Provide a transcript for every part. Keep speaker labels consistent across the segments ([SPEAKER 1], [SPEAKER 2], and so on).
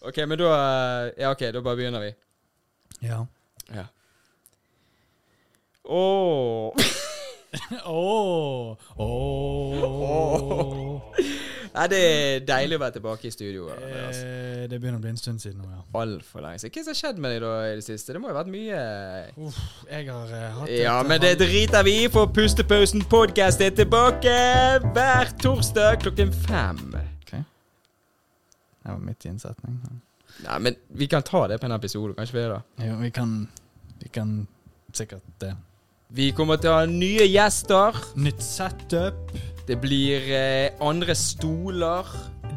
[SPEAKER 1] OK, men da eh, Ja, OK, da bare begynner vi.
[SPEAKER 2] Ja.
[SPEAKER 1] Ja. Åh.
[SPEAKER 2] Åh, åh.
[SPEAKER 1] Nei, det er deilig å være tilbake i studio. Andreas.
[SPEAKER 2] Eh, Det begynner å bli en stund siden nå, ja.
[SPEAKER 1] Altfor lenge siden. Hva er det som har skjedd med deg da i det siste? Det må jo ha vært mye eh,
[SPEAKER 2] Uff, jeg har eh, hatt
[SPEAKER 1] Ja,
[SPEAKER 2] et
[SPEAKER 1] men det
[SPEAKER 2] halv-
[SPEAKER 1] driter vi i, for Pustepausen podkast er tilbake hver torsdag klokken fem.
[SPEAKER 2] Ok. Det var midt i innsetning. men-
[SPEAKER 1] Nei, men vi kan ta det på en episode, kanskje vi er det?
[SPEAKER 2] Jo, vi kan, vi kan sikkert det.
[SPEAKER 1] Vi kommer til å ha nye gjester.
[SPEAKER 2] Nytt setup.
[SPEAKER 1] Det blir eh, andre stoler.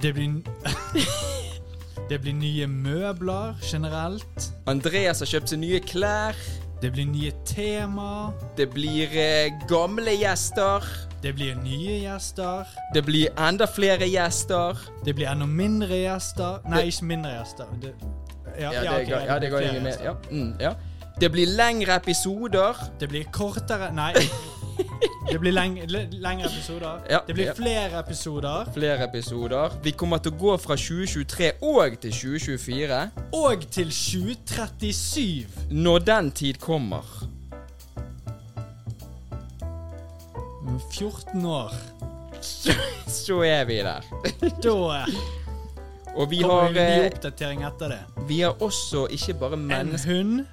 [SPEAKER 2] Det blir Det blir nye møbler generelt.
[SPEAKER 1] Andreas har kjøpt seg nye klær.
[SPEAKER 2] Det blir nye tema.
[SPEAKER 1] Det blir eh, gamle gjester.
[SPEAKER 2] Det blir nye gjester.
[SPEAKER 1] Det blir enda flere gjester.
[SPEAKER 2] Det blir enda mindre gjester. Nei, ikke mindre gjester. Det,
[SPEAKER 1] Ja,
[SPEAKER 2] ja, ja,
[SPEAKER 1] det
[SPEAKER 2] ok,
[SPEAKER 1] går, ja, det går
[SPEAKER 2] flere
[SPEAKER 1] ingen med.
[SPEAKER 2] gjester.
[SPEAKER 1] Ja. Mm, ja. Det blir lengre episoder.
[SPEAKER 2] Det blir kortere Nei. Det blir leng, le- lengre episoder.
[SPEAKER 1] Ja,
[SPEAKER 2] det blir
[SPEAKER 1] ja.
[SPEAKER 2] flere episoder.
[SPEAKER 1] Flere episoder. Vi kommer til å gå fra 2023 og til 2024.
[SPEAKER 2] Og til 2037.
[SPEAKER 1] Når den tid kommer.
[SPEAKER 2] Om 14 år.
[SPEAKER 1] Så er vi der.
[SPEAKER 2] Da
[SPEAKER 1] Og vi
[SPEAKER 2] kommer
[SPEAKER 1] har,
[SPEAKER 2] det en ny
[SPEAKER 1] eh,
[SPEAKER 2] oppdatering etter det.
[SPEAKER 1] vi har også ikke bare
[SPEAKER 2] En
[SPEAKER 1] mennesker
[SPEAKER 2] hund.